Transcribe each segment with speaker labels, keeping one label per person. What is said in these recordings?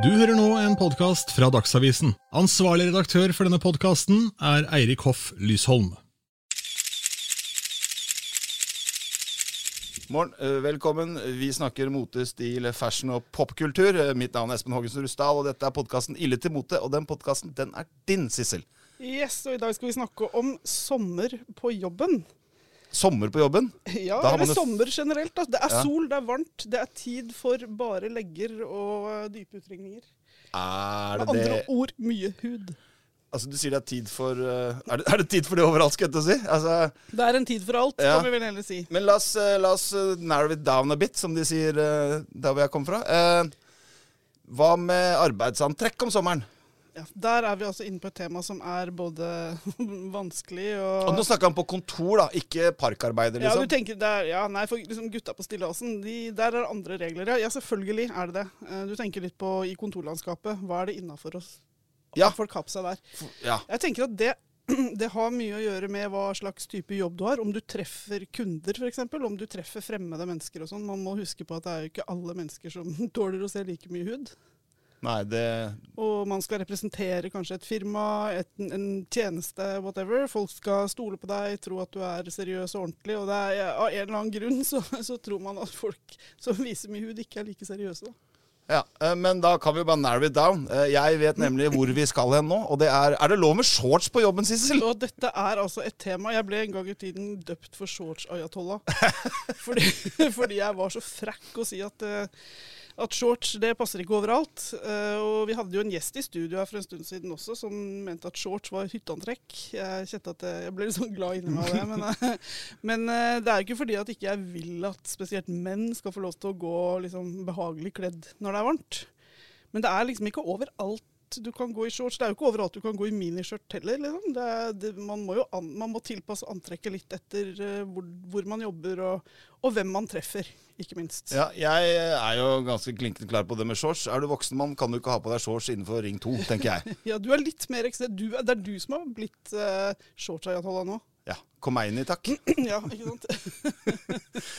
Speaker 1: Du hører nå en podkast fra Dagsavisen. Ansvarlig redaktør for denne podkasten er Eirik Hoff Lysholm.
Speaker 2: Morgen, eh, velkommen. Vi snakker mote, stil, fashion og popkultur. Eh, Mitt navn er Espen Hågensen Rusdal, og dette er podkasten Ille til mote. Og den podkasten, den er din, Sissel.
Speaker 3: Yes, og i dag skal vi snakke om sommer på jobben.
Speaker 2: Sommer på jobben.
Speaker 3: Ja,
Speaker 2: Da har
Speaker 3: eller
Speaker 2: man jo-
Speaker 3: sommer generelt. Da. Det er
Speaker 2: Ja.
Speaker 3: sol, det er varmt, det er tid for bare legger og eh, dype utringninger.
Speaker 2: Er
Speaker 3: Med
Speaker 2: det det
Speaker 3: andre ord mye hud.
Speaker 2: Altså, du sier det er tid for eh, Er det, er det tid for det overalt, skal jeg til å si? Altså,
Speaker 3: Det er en tid for alt,
Speaker 2: Ja.
Speaker 3: kan vi vel heller si.
Speaker 2: men la oss, eh, la oss eh, narrow it down a bit, som de sier eh, der hvor jeg kommer fra. Eh, hva med arbeidsantrekk om sommeren?
Speaker 3: Ja, der er vi altså inne på et tema som er både vanskelig
Speaker 2: Og
Speaker 3: og
Speaker 2: nå snakker han på kontor, da, ikke parkarbeider,
Speaker 3: ja, du
Speaker 2: liksom.
Speaker 3: tenker der, ja, nei, for liksom gutta på Stilleåsen, de, der er det andre regler. Ja. ja, selvfølgelig er det det. Eh, Du tenker litt på i kontorlandskapet. Hva er det innafor oss?
Speaker 2: Ja.
Speaker 3: At folk har på seg der.
Speaker 2: Ja,
Speaker 3: Jeg tenker at det, det har mye å gjøre med hva slags type jobb du har. Om du treffer kunder, f.eks. Om du treffer fremmede mennesker og sånn. Man må huske på at det er jo ikke alle mennesker som tåler å se like mye hud.
Speaker 2: Nei, det
Speaker 3: Og man skal representere kanskje et firma, et, en tjeneste, whatever. Folk skal stole på deg, tro at du er seriøs og ordentlig. Og det er, av en eller annen grunn så, så tror man at folk som viser mye hud, ikke er like seriøse. Da.
Speaker 2: Ja, eh, men da kan vi bare narrow it down. Eh, Jeg vet nemlig hvor vi skal hen nå. Og det er Er det lov med shorts på jobben, Sissel?
Speaker 3: Og dette er altså et tema. Jeg ble en gang i tiden døpt for shorts-ayatollah. Fordi, fordi jeg var så frekk å si at, eh, at shorts det passer ikke overalt. Eh, Og vi hadde jo en gjest i studio her for en stund siden også som mente at shorts var hytteantrekk. Jeg kjente at eh, jeg ble litt sånn glad inni meg av det. Men, eh, men eh, det er jo ikke fordi at ikke jeg vil at spesielt menn skal få lov til å gå liksom, behagelig kledd når det er varmt. Men det er liksom ikke overalt du kan gå i shorts. Det er jo ikke overalt du kan gå i miniskjørt heller. Liksom. Det er, det, man må jo an, man må tilpasse antrekket litt etter eh, hvor, hvor man jobber og, og hvem man treffer, ikke minst.
Speaker 2: Ja, jeg eh, er jo ganske klinkende klar på det med shorts. Er du voksen mann, kan du ikke ha på deg shorts innenfor ring 2, tenker jeg.
Speaker 3: Ja, du er litt mer ekstrem. Du, er- det er du som har blitt uh, shorts-ayatollah nå.
Speaker 2: Ja, Kom meg inn i, takk.
Speaker 3: ja, ikke sant?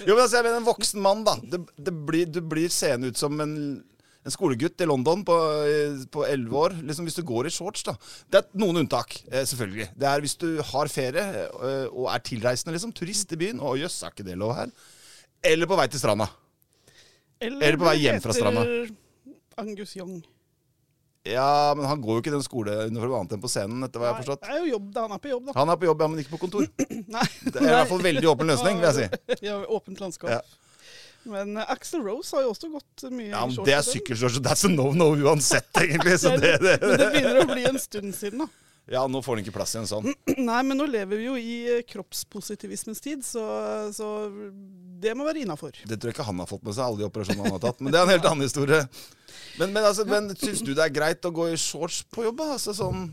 Speaker 2: Jo, men altså, jeg mener en voksen mann, da. Det, det blir, du blir seende ut som en, en skolegutt i London på, eh, på 11 år, liksom hvis du går i shorts, da. Det er noen unntak, eh, selvfølgelig. Det er hvis du har ferie eh, og er tilreisende, liksom. Turist i byen. Å jøss, er ikke det lov her? Eller på vei til stranda.
Speaker 3: Eller
Speaker 2: Er det på vei hjem
Speaker 3: heter eh,
Speaker 2: fra stranda?
Speaker 3: Angus Young.
Speaker 2: Ja, men han går jo ikke i den skoleuniformen annet enn på scenen, etter hva jeg har
Speaker 3: Nei,
Speaker 2: forstått.
Speaker 3: det er jo jobb, da. Han er på jobb, da.
Speaker 2: Han er på jobb, ja, men ikke på kontor.
Speaker 3: Nei.
Speaker 2: Det er i hvert fall veldig åpen løsning, vil jeg si.
Speaker 3: ja, åpent landskap.
Speaker 2: Ja.
Speaker 3: Men uh, Axel Rose har jo også gått mye
Speaker 2: Ja,
Speaker 3: i
Speaker 2: men
Speaker 3: shorts.
Speaker 2: Det er
Speaker 3: den.
Speaker 2: sykkelshorts, og that's a no-no uansett, egentlig. Så det, det.
Speaker 3: Men det begynner å bli en stund siden, da.
Speaker 2: Ja, nå får han ikke plass i en sånn.
Speaker 3: Nei, men nå lever vi jo i eh, kroppspositivismens tid, så, så det må være innafor.
Speaker 2: Det tror jeg ikke han har fått med seg, alle de operasjonene han har tatt. Men det er en helt annen historie. Men, men, altså, men syns du det er greit å gå i shorts på jobb? da? Altså, sånn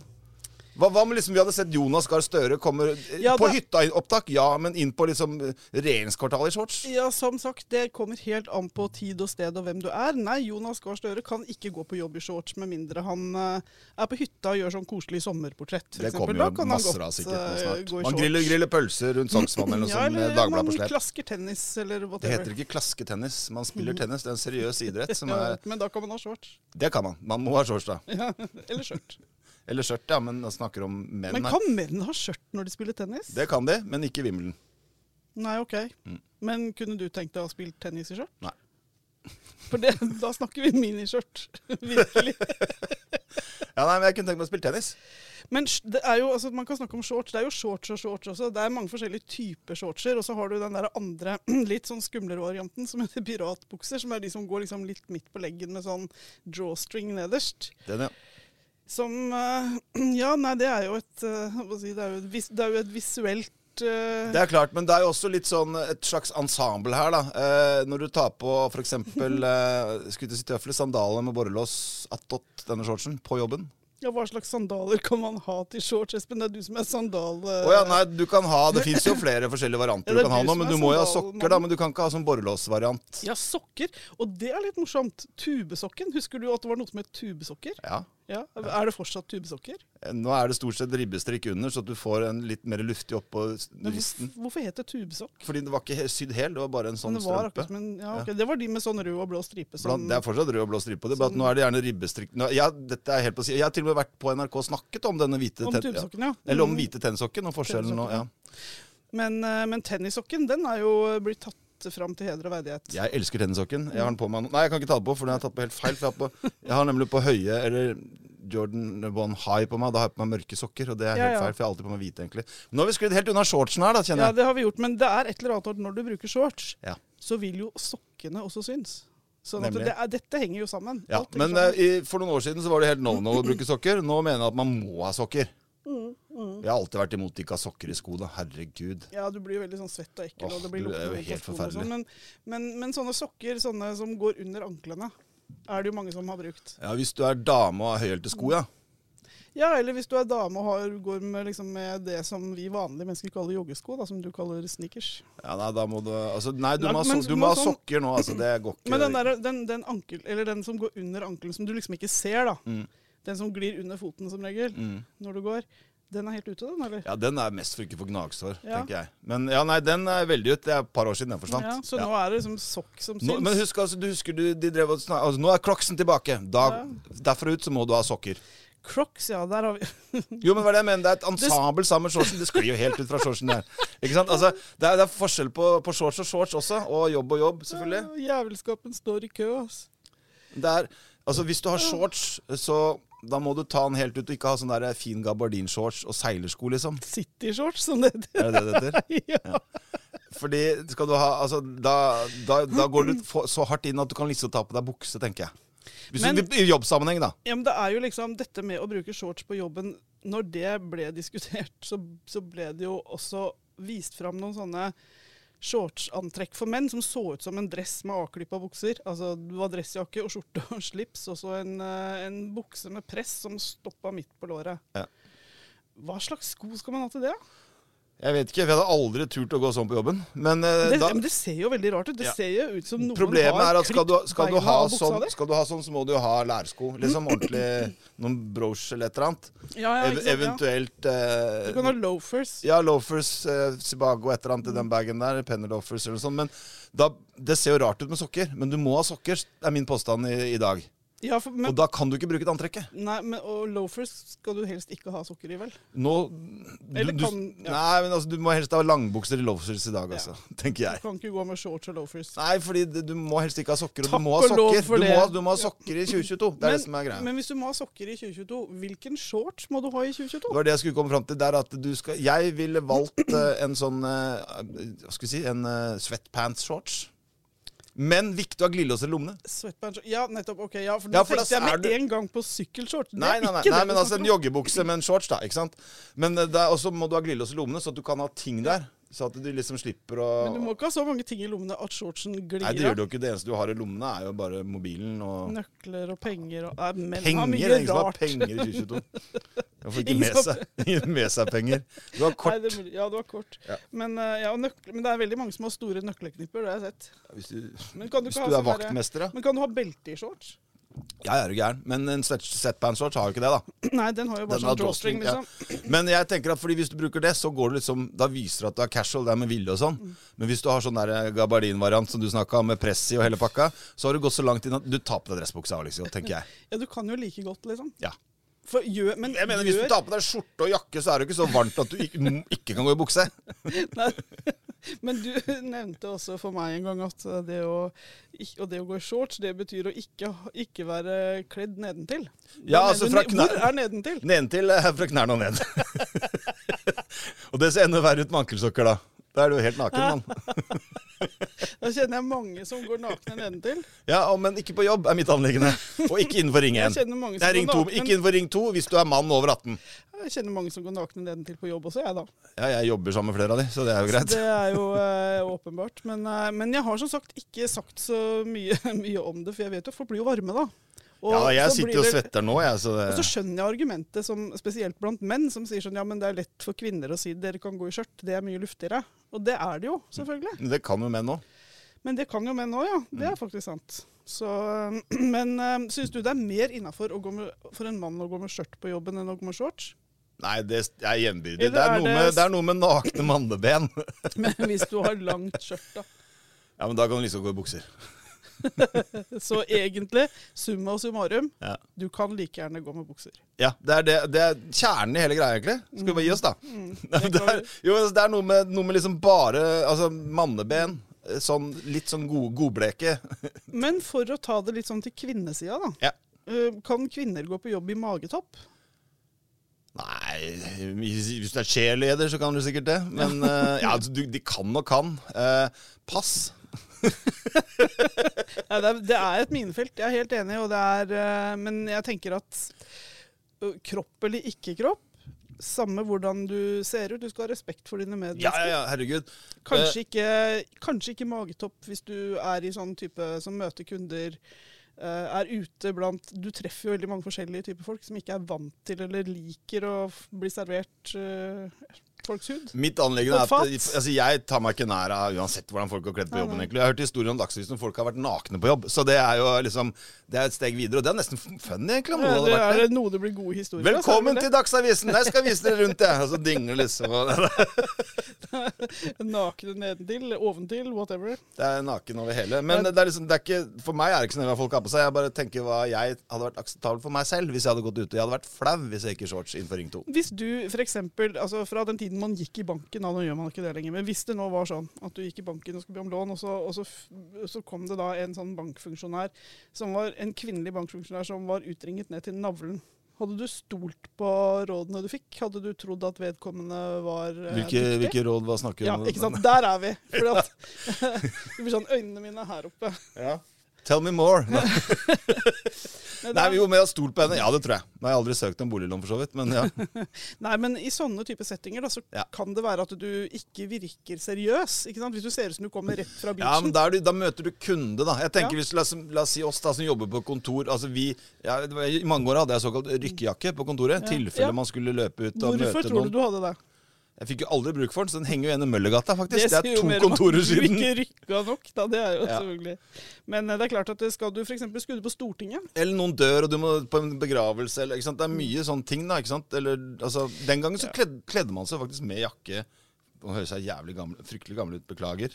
Speaker 2: hva, hva om liksom, vi hadde sett Jonas Gahr Støre komme eh,
Speaker 3: Ja,
Speaker 2: på
Speaker 3: da-
Speaker 2: hytta-opptak? Ja, men inn på liksom, regjeringskvartalet i shorts?
Speaker 3: Ja, som sagt, det kommer helt an på tid og sted og hvem du er. Nei, Jonas Gahr Støre kan ikke gå på jobb i shorts med mindre han eh, er på hytta og gjør sånn koselig sommerportrett. for
Speaker 2: Det
Speaker 3: eksempel.
Speaker 2: kommer
Speaker 3: Da
Speaker 2: jo
Speaker 3: kan han
Speaker 2: masser av
Speaker 3: godt,
Speaker 2: sikkert nå
Speaker 3: eh,
Speaker 2: snart.
Speaker 3: gå i
Speaker 2: Man
Speaker 3: shorts.
Speaker 2: griller, griller pølser rundt Sognsvann eller noe
Speaker 3: ja,
Speaker 2: sånt med
Speaker 3: eller
Speaker 2: Dagbladet
Speaker 3: man
Speaker 2: på slep.
Speaker 3: klasker tennis eller
Speaker 2: Det
Speaker 3: whatever.
Speaker 2: heter ikke klasketennis. Man spiller tennis. Det er en seriøs idrett. Som
Speaker 3: Ja,
Speaker 2: er,
Speaker 3: men da kan man ha shorts.
Speaker 2: det kan man. Man må ha shorts, da.
Speaker 3: Ja, eller skjørt.
Speaker 2: Eller skjørt, ja. Men jeg snakker om menn
Speaker 3: Men
Speaker 2: her.
Speaker 3: kan menn ha skjørt når de spiller tennis?
Speaker 2: Det kan de, men ikke i Wimbledon.
Speaker 3: Nei, ok.
Speaker 2: Mm.
Speaker 3: Men kunne du tenkt deg å spille tennis i skjørt?
Speaker 2: Nei.
Speaker 3: For det, da snakker vi miniskjørt. Virkelig.
Speaker 2: Ja, nei, men jeg kunne tenkt meg å spille tennis.
Speaker 3: Men sj- det er jo, altså, man kan snakke om shorts. Det er jo shorts og shorts også. Det er mange forskjellige typer shortser. Og så har du den der andre, litt sånn skumlere varianten som heter piratbukser. Som er de som går liksom litt midt på leggen med sånn drawstring nederst.
Speaker 2: Den, ja.
Speaker 3: Som eh, Ja, nei, det er jo et eh, hva skal jeg si, det, er jo et vis, det er jo et visuelt eh,
Speaker 2: Det er klart, men det er jo også litt sånn et slags ensemble her, da. Eh, når du tar på f.eks. Eh, skutt i tøfler, sandaler med borrelås attåt denne shortsen på jobben.
Speaker 3: Ja, hva slags sandaler kan man ha til shorts, Espen? Det er du som er sandal... eh,
Speaker 2: Å ja, nei, du kan ha Det fins jo flere forskjellige varianter
Speaker 3: Ja,
Speaker 2: du
Speaker 3: det er
Speaker 2: kan ha
Speaker 3: du
Speaker 2: nå,
Speaker 3: som
Speaker 2: men
Speaker 3: er
Speaker 2: du må jo ha
Speaker 3: sandalmannen.
Speaker 2: sokker, da. Men du kan ikke ha sånn borrelåsvariant.
Speaker 3: Ja, sokker. Og det er litt morsomt. Tubesokken. Husker du at det var noe som het tubesokker?
Speaker 2: Ja.
Speaker 3: Ja, Er det fortsatt tubesokker?
Speaker 2: Eh, Nå er det stort sett ribbestrikk under, så at du får en litt mer luftig oppå s-
Speaker 3: Men
Speaker 2: risten.
Speaker 3: hvorf- hvorfor het det tubesokk?
Speaker 2: Fordi det var ikke he- sydd hel, det var bare en sånn
Speaker 3: Men det, var akkurat
Speaker 2: strømpe.
Speaker 3: som en, ja, ok, det var de med sånn rød og blå stripe som
Speaker 2: Blant, det er fortsatt rød og blå stripe på det, bare at
Speaker 3: som-
Speaker 2: nå er det gjerne ribbestrikk nå, ja, dette er helt på siden. Jeg har til og med vært på NRK og snakket om denne hvite
Speaker 3: Om
Speaker 2: ten-
Speaker 3: tubesokken, ja.
Speaker 2: Eller om
Speaker 3: Mm.
Speaker 2: hvite tennsokken og forskjellen. Og, ja.
Speaker 3: Men, eh, men tennissokken, den er jo eh, blitt tatt fram til heder og verdighet.
Speaker 2: Jeg elsker tennissokken. Jeg har den på meg nå. Nei, jeg kan ikke ta den på, for den har jeg tatt på helt feil. For jeg, har på, jeg har nemlig på høye eller Jordan One High på meg. Da har jeg på meg mørke sokker, og det er
Speaker 3: Ja,
Speaker 2: helt
Speaker 3: ja.
Speaker 2: feil. For jeg har alltid på meg hvite, egentlig. Nå har vi sklidd helt unna shortsen her, da,
Speaker 3: Ja,
Speaker 2: kjenner jeg.
Speaker 3: det har vi gjort, men det er et eller annet at når du bruker shorts,
Speaker 2: Ja.
Speaker 3: så vil jo sokkene også synes. Sånn at
Speaker 2: Nemlig.
Speaker 3: det er, dette henger jo sammen.
Speaker 2: Ja,
Speaker 3: Alt henger
Speaker 2: men
Speaker 3: sammen.
Speaker 2: eh, i, for noen år siden så var det helt no no å bruke sokker. Nå mener jeg at man må ha sokker.
Speaker 3: Mm,
Speaker 2: Jeg har alltid vært imot ikke ha sokker i skoene. Herregud.
Speaker 3: Ja, du blir jo veldig sånn svett og ekkel,
Speaker 2: Åh,
Speaker 3: og det blir
Speaker 2: du er jo
Speaker 3: luktende
Speaker 2: helt
Speaker 3: på skoene og sånn. Men, men, men sånne sokker, sånne som går under anklene, er det jo mange som har brukt.
Speaker 2: Ja, Hvis du er dame og har høyhælte sko, ja.
Speaker 3: Ja, eller hvis du er dame og har, går med, liksom, med det som vi vanlige mennesker kaller joggesko, da, som du kaller sneakers.
Speaker 2: ja nei, da må du, altså, nei, du
Speaker 3: Nei,
Speaker 2: må, ha
Speaker 3: men-
Speaker 2: so- du
Speaker 3: men
Speaker 2: må ha
Speaker 3: sånn-
Speaker 2: sokker nå, altså. Det går ikke.
Speaker 3: Men den, der, den, den, ankel, eller den som går under ankelen, som du liksom ikke ser, da.
Speaker 2: Mm.
Speaker 3: Den som glir under foten som regel
Speaker 2: Mm.
Speaker 3: når du går. Den er helt ute, den, eller?
Speaker 2: Ja, den er mest for ikke å få gnagsår,
Speaker 3: Ja.
Speaker 2: tenker jeg. Men ja, nei, den er veldig ut. Det er et par år siden den forsvant.
Speaker 3: Ja, så
Speaker 2: Ja.
Speaker 3: nå er det liksom sokk som syns.
Speaker 2: Nå, men husk, altså, du husker du, de drev og snak- altså, Nå er Crocsen tilbake. Da, Derfra ut så må du ha sokker.
Speaker 3: Crocs, ja, der har vi
Speaker 2: Jo, men hva er det jeg mener? Det er et ensemble sammen med shortsen. Det sklir jo helt ut fra shortsen der. Ikke sant? Altså, det, er, det er forskjell på, på shorts og shorts også, og jobb og jobb, selvfølgelig.
Speaker 3: Å, Jævelskapen står i kø, ass.
Speaker 2: Det er, altså Hvis du har shorts, så da må du ta den helt ut og ikke ha sånn der fin gabardinshorts og seilersko, liksom.
Speaker 3: Cityshorts, som det heter.
Speaker 2: Er det det det heter?
Speaker 3: ja.
Speaker 2: Fordi skal du ha, altså, da, da, da går du for, så hardt inn at du kan liksom ta på deg bukse, tenker jeg. Hvis
Speaker 3: Men-
Speaker 2: du, I jobbsammenheng, da.
Speaker 3: ja, men det er jo liksom dette med å bruke shorts på jobben Når det ble diskutert, så, så ble det jo også vist fram noen sånne shortsantrekk for menn som så ut som en dress med avklippa bukser. Altså, det var dressjakke og skjorte og slips, og så en, eh, en bukse med press som stoppa midt på låret.
Speaker 2: Ja.
Speaker 3: Hva slags sko skal man ha til det? da?
Speaker 2: Jeg vet ikke, for jeg hadde aldri turt å gå sånn på jobben. Men, eh,
Speaker 3: Det,
Speaker 2: da,
Speaker 3: men det ser jo veldig rart ut. Det
Speaker 2: Ja.
Speaker 3: ser jo ut som noen
Speaker 2: problemet
Speaker 3: har
Speaker 2: er at skal du, skal, du
Speaker 3: beina
Speaker 2: ha
Speaker 3: av buksa
Speaker 2: sånn,
Speaker 3: di.
Speaker 2: skal du ha sånn, så må du jo ha lærsko. Liksom ordentlig noen brooch eller et eller annet.
Speaker 3: Ja, ja,
Speaker 2: Ev
Speaker 3: ikke sant,
Speaker 2: eventuelt
Speaker 3: ja. Du kan
Speaker 2: eh,
Speaker 3: ha loafers.
Speaker 2: ja, loafers, eh, Sibago et eller annet i den bagen der. Penny loafers eller noe sånt. Men da, det ser jo rart ut med sokker. Men du må ha sokker, er min påstand i, i dag.
Speaker 3: Ja, for, men,
Speaker 2: Og da kan du ikke bruke det antrekket.
Speaker 3: nei, men, og loafers skal du helst ikke ha sokker i, vel?
Speaker 2: Nå
Speaker 3: Eller
Speaker 2: du,
Speaker 3: kan-
Speaker 2: du,
Speaker 3: ja.
Speaker 2: Nei, men altså, du må helst ha langbukser i loafers i dag, altså. Tenker
Speaker 3: Du
Speaker 2: jeg.
Speaker 3: kan ikke gå med shorts og loafers.
Speaker 2: Nei, fordi det- du må helst ikke ha sokker. Og du
Speaker 3: Takk
Speaker 2: må ha
Speaker 3: og lov
Speaker 2: sokker.
Speaker 3: for
Speaker 2: Du
Speaker 3: det.
Speaker 2: må, ha- du må ha sokker i 2022. Det er det som er greia.
Speaker 3: men hvis du må ha sokker i 2022, hvilken shorts må du ha i
Speaker 2: det
Speaker 3: 2022?
Speaker 2: var det jeg skulle komme fram til. Det er at du skal Jeg ville valgt eh, en sånn eh, Hva skal vi si En eh, sweatpants-shorts. Men viktig å ha glidelåser i lommene.
Speaker 3: Sweatpants Ja, nettopp. ok, ja, for Nå
Speaker 2: Ja, for da
Speaker 3: tenkte jeg
Speaker 2: er
Speaker 3: med
Speaker 2: du-
Speaker 3: en gang på sykkelshorts. Det er
Speaker 2: Nei, nei, nei,
Speaker 3: ikke
Speaker 2: nei
Speaker 3: det
Speaker 2: men
Speaker 3: vi
Speaker 2: altså en
Speaker 3: snakker om.
Speaker 2: joggebukse med en shorts, da. Ikke sant? Men eh, det er- også må du ha glidelås i lommene, så at du kan ha ting der. Så at du liksom slipper å
Speaker 3: Men du må ikke ha så mange ting i lommene at shortsen glir
Speaker 2: Nei, det gjør
Speaker 3: av.
Speaker 2: det jo ikke. Det eneste du har i lommene, er jo bare mobilen og
Speaker 3: Nøkler og penger og Nei, menn
Speaker 2: penger.
Speaker 3: har
Speaker 2: Det
Speaker 3: mye
Speaker 2: er ingen som har
Speaker 3: rart.
Speaker 2: penger i 2022. Man får ikke
Speaker 3: Ingen
Speaker 2: med
Speaker 3: som-
Speaker 2: seg, ingen med seg penger. Du har
Speaker 3: Nei,
Speaker 2: kort.
Speaker 3: det, er mulig. ja, det var kort.
Speaker 2: Ja.
Speaker 3: Men, eh, ja, og nøkler, men det er veldig mange som har store nøkkelknipper, det har jeg sett.
Speaker 2: Hvis du,
Speaker 3: Men kan du,
Speaker 2: hvis
Speaker 3: ikke ha
Speaker 2: du er
Speaker 3: sånn derre-
Speaker 2: vaktmester, ja.
Speaker 3: men kan du ha belte i shorts?
Speaker 2: Jeg er jo gæren. Men en setpants-shorts har jo ikke det, da.
Speaker 3: Nei, den har jo bare
Speaker 2: Den har
Speaker 3: sånn drawstring,
Speaker 2: drawstring, ja.
Speaker 3: liksom.
Speaker 2: Men jeg tenker at fordi hvis du bruker det, så går du liksom Da viser du at du er casual, det er med vilje og sånn. Men hvis du har sånn der gabardinvariant som du snakka om, med press i og hele pakka, så har du gått så langt inn at du tar på deg dressbuksa, liksom, tenker jeg.
Speaker 3: Ja, du kan jo like godt, liksom.
Speaker 2: Ja.
Speaker 3: For gjør, men
Speaker 2: Jeg mener,
Speaker 3: gjør,
Speaker 2: Hvis du tar på deg skjorte og jakke, så er det jo ikke så varmt at du ikke, ikke kan gå i bukse.
Speaker 3: Nei. Men du nevnte også for meg en gang at det å, ikk- og det å gå i shorts, det betyr å ikke, ha- ikke være kledd nedentil.
Speaker 2: Ja,
Speaker 3: Da mener
Speaker 2: altså,
Speaker 3: du
Speaker 2: fra
Speaker 3: ne-
Speaker 2: knær-
Speaker 3: Hvor er nedentil?
Speaker 2: Nedentil eh, fra knærne og ned. og det ser enda verre ut med ankelsokker, da. Da er du jo helt naken, mann.
Speaker 3: Da kjenner jeg mange som går nakne nedentil.
Speaker 2: Ja, og, men ikke på jobb, er mitt anliggende. Og ikke innenfor ring
Speaker 3: Jeg
Speaker 2: 1.
Speaker 3: kjenner mange
Speaker 2: Nei,
Speaker 3: som,
Speaker 2: ring
Speaker 3: går
Speaker 2: 2.
Speaker 3: nakne,
Speaker 2: Ikke innenfor ring 2 hvis du er mann over 18.
Speaker 3: jeg kjenner mange som går nakne nedentil på jobb også, jeg da.
Speaker 2: Ja, jeg jobber sammen med flere av de, så det er jo greit.
Speaker 3: Altså, Det er jo eh, åpenbart. Men, eh, men jeg har som sagt ikke sagt så mye, mye om det, for jeg vet jo folk blir jo varme da. Og
Speaker 2: Ja, jeg
Speaker 3: så blir
Speaker 2: sitter jo og
Speaker 3: det-
Speaker 2: svetter nå, jeg, så
Speaker 3: Og så
Speaker 2: det
Speaker 3: skjønner jeg argumentet, som, spesielt blant menn, som sier sånn ja, men det er lett for kvinner å si dere kan gå i skjørt, det er mye luftigere. Og det er det jo, selvfølgelig.
Speaker 2: Men det kan jo menn òg.
Speaker 3: Men det kan jo menn òg, ja. Det er faktisk sant. Så, men øh, syns du det er mer innafor for en mann å gå med skjørt på jobben enn å gå med shorts?
Speaker 2: Nei, det er gjenbyrdig.
Speaker 3: Eller
Speaker 2: Det er,
Speaker 3: er
Speaker 2: noe
Speaker 3: det-
Speaker 2: med, det er noe med nakne manneben.
Speaker 3: Men hvis du har langt skjørt, da.
Speaker 2: Ja, men da kan du liksom gå i bukser.
Speaker 3: Så egentlig, summa summarum,
Speaker 2: Ja.
Speaker 3: du kan like gjerne gå med bukser.
Speaker 2: Ja, det er, det, det er kjernen i hele greia, egentlig. Skal vi bare gi oss, da? Nei, men Mm. det, er, jo, altså, det er noe med, noe med liksom bare Altså, manneben. eh, Sånn litt sånn god, godbleke.
Speaker 3: Men for å ta det litt sånn til kvinnesida, da.
Speaker 2: Ja.
Speaker 3: øh, Kan kvinner gå på jobb i magetopp?
Speaker 2: Nei, hvis hvis du er cheerleader, så kan du sikkert det. Men eh, ja, du, de kan og kan. Eh, pass.
Speaker 3: Ja, det, er, det er et minefelt, jeg er helt enig. Og det er, eh, men jeg tenker at ø, kropp eller ikke kropp, samme hvordan du ser ut, du skal ha respekt for
Speaker 2: Ja,
Speaker 3: dine
Speaker 2: eh,
Speaker 3: medmennesker.
Speaker 2: ja, ja, herregud.
Speaker 3: Kanskje, ikke, kanskje ikke magetopp hvis du er i sånn type som møter kunder, eh, er ute blant Du treffer jo veldig mange forskjellige typer folk som ikke er vant til eller liker å f- bli servert eh, folks hud.
Speaker 2: Mitt anliggende er at
Speaker 3: Oppfatt.
Speaker 2: altså, jeg tar meg ikke nær av uansett hvordan folk har kledd på
Speaker 3: Nei,
Speaker 2: jobben.
Speaker 3: nei.
Speaker 2: egentlig. Jeg har hørt historier om Dagsrevyen om folk har vært nakne på jobb. Så det er jo liksom, det er et steg videre. Og det er nesten funny, egentlig. om
Speaker 3: Eh,
Speaker 2: noen
Speaker 3: Det
Speaker 2: hadde vært
Speaker 3: er
Speaker 2: det.
Speaker 3: det noe det blir gode historier av, så er
Speaker 2: Velkommen
Speaker 3: det
Speaker 2: til Dagsavisen! Der skal jeg vise dere rundt, jeg. Og så dingler liksom. og
Speaker 3: vel det. Nakne nedentil, oventil, whatever.
Speaker 2: Det er naken over hele. Men det er liksom, det er ikke, for meg er det ikke så nøye hva folk har på seg. Jeg bare tenker hva jeg hadde vært akseptabel for meg selv hvis jeg hadde gått ute. Jeg hadde vært flau hvis jeg gikk i shorts innenfor Ring 2.
Speaker 3: Hvis du for eksempel, altså fra den tiden man gikk i banken, da, nå gjør man ikke det lenger, men hvis det nå var sånn at du gikk i banken og skulle be om lån, og så, og så, f- så kom det da en sånn bankfunksjonær, som var en kvinnelig bankfunksjonær som var utringet ned til navlen. Hadde du stolt på rådene du fikk? Hadde du trodd at vedkommende var eh,
Speaker 2: Hvilke,
Speaker 3: dyktig?
Speaker 2: hvilke råd hva snakker vi
Speaker 3: Ja,
Speaker 2: om?
Speaker 3: ikke sant? Der er vi. For at, det blir sånn øynene mine er her oppe.
Speaker 2: Ja. Tell me more. Nei,
Speaker 3: Men det er-
Speaker 2: jo, men jeg har stolt på henne. Ja, det tror jeg. Nå har jeg aldri søkt om boliglån, for så vidt. Men ja.
Speaker 3: Nei, men i sånne type settinger da, så
Speaker 2: Ja.
Speaker 3: kan det være at du ikke virker seriøs. ikke sant? Hvis du ser ut som du kommer rett fra
Speaker 2: Ja, men
Speaker 3: beachen.
Speaker 2: da, er du, da møter du kunde, da. Jeg tenker
Speaker 3: Ja.
Speaker 2: hvis, la, oss, la oss si oss da, som jobber på kontor. Altså vi, ja, det var- I mange år hadde jeg såkalt rykkejakke på kontoret.
Speaker 3: Ja.
Speaker 2: tilfelle
Speaker 3: Ja.
Speaker 2: man skulle løpe ut og
Speaker 3: Hvorfor
Speaker 2: møte
Speaker 3: tror
Speaker 2: noen.
Speaker 3: du du hadde det?
Speaker 2: Jeg fikk jo aldri bruk for den, så den henger jo igjen i Møllergata, faktisk. Det,
Speaker 3: sier
Speaker 2: er
Speaker 3: jo
Speaker 2: to
Speaker 3: mer om at
Speaker 2: kontorer
Speaker 3: Du
Speaker 2: siden.
Speaker 3: ikke rykka nok, da. Det er jo
Speaker 2: Ja.
Speaker 3: selvfølgelig Men eh, det er klart at det skal du f.eks. skulle du på Stortinget
Speaker 2: Eller noen dør, og du må på en begravelse, eller ikke sant. Det er mye
Speaker 3: Mm.
Speaker 2: sånne ting, da. ikke sant? Eller, altså, den gangen så kled, kledde man seg faktisk med jakke. Man høres seg jævlig gammel, fryktelig gammel ut, beklager.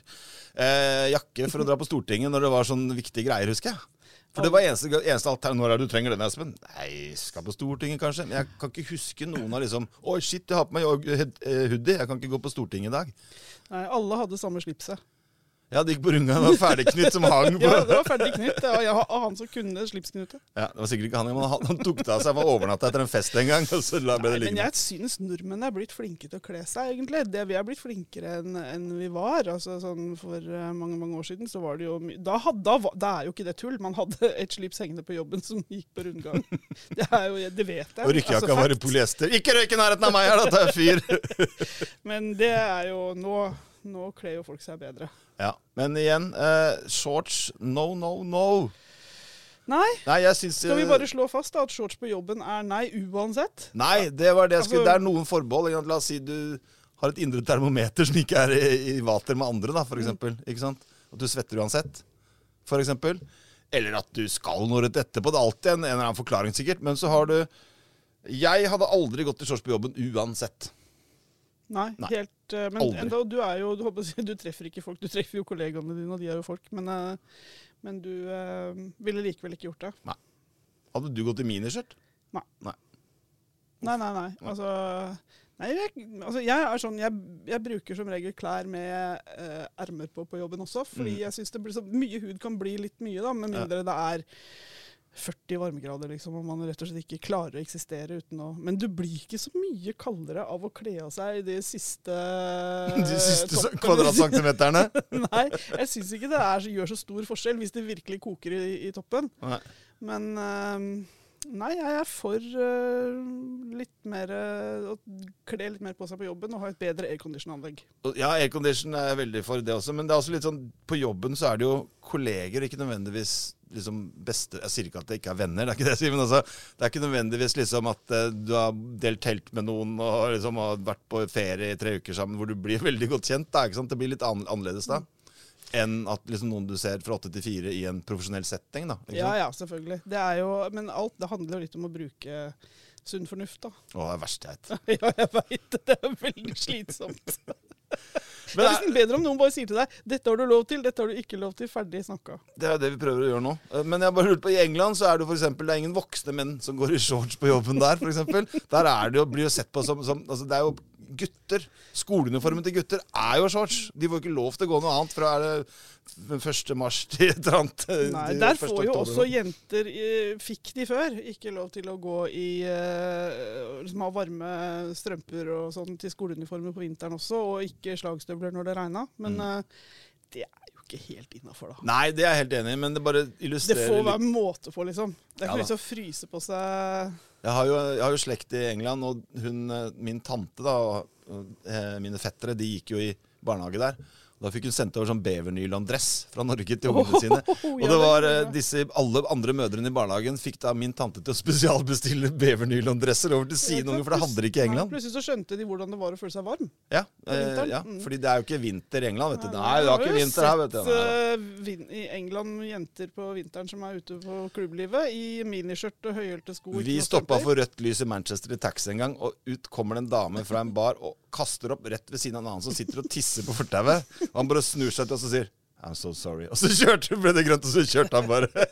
Speaker 2: Eh, jakke for å dra på Stortinget når det var sånn viktige greier, husker jeg. For det var eneste, eneste alternativ. Når er det du trenger den, Espen? Nei, skal på Stortinget, kanskje. Men jeg kan ikke huske noen av liksom Oi, shit, jeg har på meg eh, hoodie. Jeg kan ikke gå på Stortinget i dag.
Speaker 3: Nei, alle hadde samme slipset.
Speaker 2: Ja, det gikk på Runga, det var ferdigknytt som hang på
Speaker 3: Ja, det var ferdig knytt. Det var jeg, og han som kunne slipsknute.
Speaker 2: Ja, Det var sikkert ikke han, men han, han tok det av seg for å overnatte etter en fest en gang. Og så la, ble det
Speaker 3: Nei, men
Speaker 2: liggende.
Speaker 3: jeg syns nordmenn er blitt flinke til å kle seg, egentlig. Det, vi er blitt flinkere enn enn vi var. Altså, sånn for eh, mange mange år siden så var det jo my da, had, da, var- da er jo ikke det tull. Man hadde et slips hengende på jobben som gikk på rundgang. Det, er jo, det vet jeg.
Speaker 2: Og rykkejakka
Speaker 3: Altså,
Speaker 2: var i polyester. Ikke røyk i nærheten av meg her, da tar jeg fyr!
Speaker 3: Men det er jo Nå, nå kler jo folk seg bedre.
Speaker 2: Ja, Men igjen, eh, shorts no, no, no.
Speaker 3: Nei,
Speaker 2: Nei, jeg syns
Speaker 3: Skal vi
Speaker 2: eh,
Speaker 3: bare slå fast da, at shorts på jobben er nei uansett?
Speaker 2: Nei, det var det jeg skulle
Speaker 3: Altså-
Speaker 2: Det er noen forbehold. ikke sant? La oss si du har et indre termometer som ikke er i, i vater med andre, da, for
Speaker 3: Mm.
Speaker 2: eksempel. Ikke sant? At du svetter uansett, for eksempel. Eller at du skal noe rett etterpå. Det er alltid en, en eller annen forklaring, sikkert. Men så har du Jeg hadde aldri gått i shorts på jobben uansett.
Speaker 3: Nei,
Speaker 2: Nei.
Speaker 3: helt eh, Men
Speaker 2: Aldri.
Speaker 3: enda, du er jo du, håper, å si- du treffer ikke folk. Du treffer jo kollegaene dine, og de er jo folk. Men, eh, men du eh, ville likevel ikke gjort det.
Speaker 2: Hadde du gått i miniskjørt?
Speaker 3: Nei, nei, nei. Altså, nei jeg, altså jeg er sånn jeg, jeg bruker som regel klær med eh, ermer på på jobben også, fordi
Speaker 2: Mm.
Speaker 3: jeg syns det blir så mye hud kan bli litt mye, da, med
Speaker 2: Ja.
Speaker 3: mindre det er 40 varmegrader, liksom, og man rett og slett ikke klarer å eksistere uten å Men du blir ikke så mye kaldere av å kle av seg de siste
Speaker 2: De siste
Speaker 3: Eh, toppen.
Speaker 2: kvadratcentimeterne?
Speaker 3: Nei, jeg syns ikke det er, gjør så stor forskjell hvis det virkelig koker i, i toppen.
Speaker 2: Nei.
Speaker 3: Men ehm, nei, jeg er for eh, litt mer eh, å kle litt mer på seg på jobben og ha et bedre aircondition-anlegg.
Speaker 2: Og Ja, aircondition er jeg veldig for det også, men det er også litt sånn På jobben så er det jo kolleger, ikke nødvendigvis liksom beste Jeg sier ikke at det ikke er venner, det er ikke det jeg sier, men altså Det er ikke nødvendigvis liksom at eh, du har delt telt med noen og liksom har vært på ferie i tre uker sammen, hvor du blir veldig godt kjent, da, ikke sant? Det blir litt ann- annerledes da. enn at liksom noen du ser fra åtte til fire i en profesjonell setting. da. Ikke
Speaker 3: Ja,
Speaker 2: sant?
Speaker 3: ja, selvfølgelig. Det er jo, men alt det handler jo litt om å bruke sunn fornuft, da.
Speaker 2: Å, det er verst jeg vet.
Speaker 3: Ja, jeg veit det. Det er veldig slitsomt. det
Speaker 2: Men
Speaker 3: er
Speaker 2: det er,
Speaker 3: nesten bedre om noen bare sier til deg 'dette har du lov til', 'dette har du ikke lov til', ferdig snakka.
Speaker 2: det er jo det vi prøver å gjøre nå. Eh, Men jeg bare lurer på, i England så er det jo for eksempel, det er ingen voksne menn som går i shorts på jobben der, for eksempel. Der er det jo, blir jo sett på som, som altså, Det er jo gutter. Skoleuniformen til gutter er jo shorts. De får ikke lov til å gå noe annet fra er det 1. mars til et eller annet. eh,
Speaker 3: Nei,
Speaker 2: til
Speaker 3: der
Speaker 2: 1.
Speaker 3: får jo
Speaker 2: oktober.
Speaker 3: også jenter eh, Fikk de før ikke lov til å gå i eh, liksom ha varme strømper og sånn til skoleuniformer på vinteren også, og ikke slagstøvler når det regna. Men eh, det er jo ikke helt innafor, da.
Speaker 2: Mm. Nei, det er jeg helt enig i, men det bare
Speaker 3: Det
Speaker 2: illustrerer
Speaker 3: får
Speaker 2: litt.
Speaker 3: være måte på, liksom. Det
Speaker 2: Ja
Speaker 3: er ikke
Speaker 2: da.
Speaker 3: noe vits å fryse på seg
Speaker 2: Jeg har, jo, jeg har jo slekt i England, og hun, eh, min tante da, og, og eh, mine fettere de gikk jo i barnehage der. Og Da fikk hun sendt over sånn bevernyland-dress fra Norge til ungene sine. Og
Speaker 3: Oh, ja,
Speaker 2: det
Speaker 3: det
Speaker 2: var
Speaker 3: gjorde
Speaker 2: eh,
Speaker 3: jeg.
Speaker 2: disse, Alle andre mødrene i barnehagen fikk da min tante til å spesialbestille bevernyland-dresser over til sine unger, for det hadde de ikke i
Speaker 3: Nei,
Speaker 2: England.
Speaker 3: Plutselig så skjønte de hvordan det var å føle seg varm.
Speaker 2: Ja,
Speaker 3: på
Speaker 2: eh,
Speaker 3: vinteren.
Speaker 2: ja,
Speaker 3: Mm.
Speaker 2: fordi det er jo ikke vinter i England, vet du. Nei, det
Speaker 3: jeg har
Speaker 2: er ikke
Speaker 3: jo
Speaker 2: vinter her, vet du. Nei, da.
Speaker 3: sett, eh, vin- I England jenter på vinteren som er ute på klubblivet i miniskjørt og høyhælte sko. ikke
Speaker 2: Vi
Speaker 3: noe
Speaker 2: stoppa
Speaker 3: strømper.
Speaker 2: for rødt lys i Manchester i taxi en gang, og ut kommer det en dame fra en bar og kaster opp rett ved siden av en annen som sitter og tisser på fortauet. Og Han bare snur seg til oss og sier I'm so sorry. Og så kjørte, ble det grønt, og så kjørte han bare.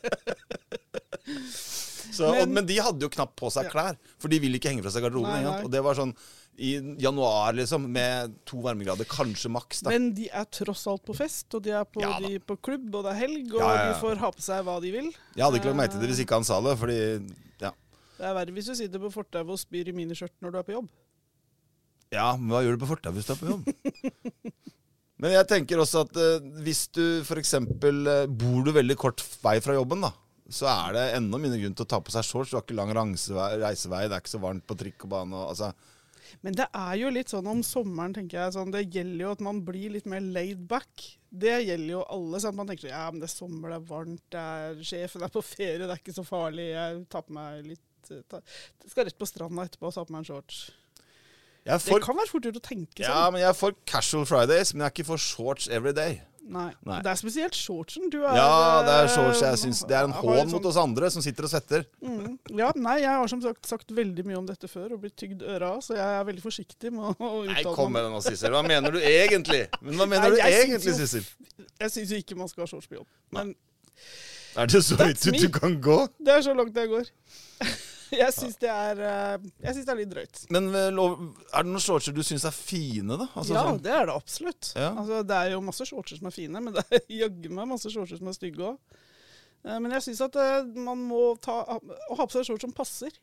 Speaker 2: Så, men, og,
Speaker 3: Men-
Speaker 2: men de hadde jo knapt på seg
Speaker 3: Ja.
Speaker 2: klær, for de ville ikke henge fra seg garderoben.
Speaker 3: Nei,
Speaker 2: ikke sant?
Speaker 3: nei.
Speaker 2: Og det var sånn i januar, liksom, med to varmegrader, kanskje maks. da.
Speaker 3: Men de er tross alt på fest, og de er på,
Speaker 2: Ja da.
Speaker 3: de på klubb, og det er helg, og
Speaker 2: Ja, ja, ja.
Speaker 3: de får ha på seg hva de vil.
Speaker 2: Jeg hadde ikke lagt merke til det hvis ikke han sa det, fordi ja.
Speaker 3: Det er verre hvis du sitter på fortauet og spyr i miniskjørt når du er på jobb.
Speaker 2: Ja, men hva gjør du på fortauet hvis du er på jobb? men jeg tenker også at eh, hvis du f.eks. Eh, bor du veldig kort vei fra jobben, da, så er det enda mindre grunn til å ta på seg shorts. Du har ikke lang ransevei- reisevei, det er ikke så varmt på trikk og bane. Og, altså,
Speaker 3: Men det er jo litt sånn om sommeren, tenker jeg. Sånn, det gjelder jo at man blir litt mer laid back. Det gjelder jo alle. Sant? Man tenker sånn, ja, men det er sommer, det er varmt, det er sjefen er på ferie, det er ikke så farlig. Jeg tar på meg litt eh, ta, Skal rett på stranda etterpå og ta på meg en shorts.
Speaker 2: jeg er
Speaker 3: Det
Speaker 2: for,
Speaker 3: kan være fort gjort å tenke
Speaker 2: ja,
Speaker 3: sånn.
Speaker 2: men jeg er for casual Fridays, men jeg er ikke for shorts every day.
Speaker 3: Nei.
Speaker 2: Nei.
Speaker 3: Det er spesielt shortsen. Du er
Speaker 2: Ja, det er
Speaker 3: eh,
Speaker 2: shorts jeg syns Det er en
Speaker 3: har sånn en
Speaker 2: hån mot oss andre som sitter og svetter.
Speaker 3: Mm. Ja, nei, jeg har som sagt sagt veldig mye om dette før og blitt tygd øra av, så jeg er veldig forsiktig med å, å uttale
Speaker 2: Nei, kom
Speaker 3: meg.
Speaker 2: med det nå, Sissel. Hva mener du egentlig? Men hva mener
Speaker 3: Nei,
Speaker 2: du
Speaker 3: jeg syns
Speaker 2: egentlig,
Speaker 3: jo-
Speaker 2: Sissel?
Speaker 3: Jeg syns jo ikke man skal ha shorts på jobb, men
Speaker 2: Er det så høyt
Speaker 3: That's
Speaker 2: ut du
Speaker 3: me.
Speaker 2: kan gå?
Speaker 3: Det er så langt jeg går. Jeg syns det er eh, Jeg synes det er litt drøyt.
Speaker 2: Men eh, lov, er det noen shortser du syns er fine, da? Altså,
Speaker 3: ja,
Speaker 2: sånn-
Speaker 3: det er det absolutt.
Speaker 2: Ja.
Speaker 3: Altså, det er jo masse shortser som er fine, men det er jaggu meg masse shortser som er stygge òg. Men jeg syns at eh, man må ta, å ha på seg shorts som passer.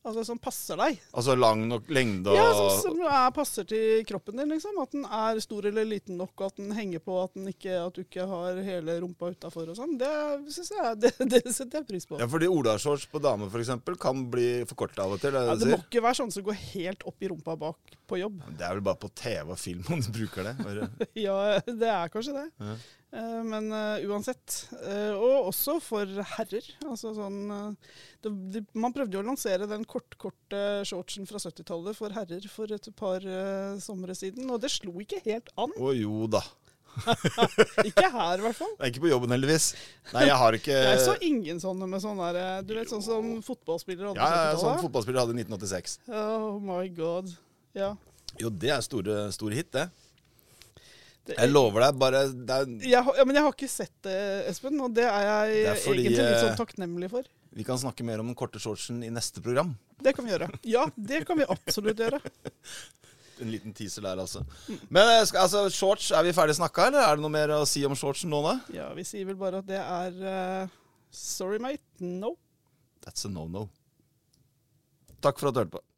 Speaker 3: Altså som passer deg.
Speaker 2: altså lang nok lengde og
Speaker 3: Ja, som, som er, passer til kroppen din, liksom. At den er stor eller liten nok, og at den henger på, at, den ikke, at du ikke har hele rumpa utafor og sånn. Det syns jeg det, det setter jeg pris på.
Speaker 2: Ja, fordi olashorts på dame for eksempel kan bli forkorta av og til. Er
Speaker 3: Ja,
Speaker 2: det,
Speaker 3: det
Speaker 2: du
Speaker 3: må
Speaker 2: sier?
Speaker 3: ikke være sånn som går helt opp i rumpa bak på jobb.
Speaker 2: det er vel bare på TV og film man bruker det. bare-
Speaker 3: Ja, det er kanskje det.
Speaker 2: Ja.
Speaker 3: Eh, Men eh, uansett. Eh, og også for herrer. Altså sånn eh, det, det, Man prøvde jo å lansere den kortkorte shortsen fra 70-tallet for herrer for et par uh, somre siden, og det slo ikke helt an.
Speaker 2: Å jo da.
Speaker 3: Ikke her, i hvert fall.
Speaker 2: Det er ikke på jobben, heldigvis. Nei, jeg har ikke
Speaker 3: Jeg så ingen sånne med sånn der eh, Du vet, sånn som fotballspillere hadde
Speaker 2: ja,
Speaker 3: på
Speaker 2: ja, sånn
Speaker 3: 70-tallet?
Speaker 2: fotballspiller hadde i 1986.
Speaker 3: Oh my god. Ja.
Speaker 2: Jo, det er store, store hit, det.
Speaker 3: Det-
Speaker 2: Jeg lover deg, bare det er,
Speaker 3: Jeg, har- ja, men jeg har ikke sett det, Espen, og det er jeg
Speaker 2: Det er fordi,
Speaker 3: egentlig litt
Speaker 2: eh,
Speaker 3: sånn takknemlig for.
Speaker 2: Vi kan snakke mer om den korte shortsen i neste program.
Speaker 3: Det kan vi gjøre. Ja, det kan vi absolutt gjøre.
Speaker 2: En liten teaser der, altså. Men eh, skal, altså, shorts, er vi ferdig snakka, eller er det noe mer å si om shortsen nå, da?
Speaker 3: Ja, vi sier vel bare at det er eh, Sorry, mate. No.
Speaker 2: That's a no-no. Takk for at du hørte på.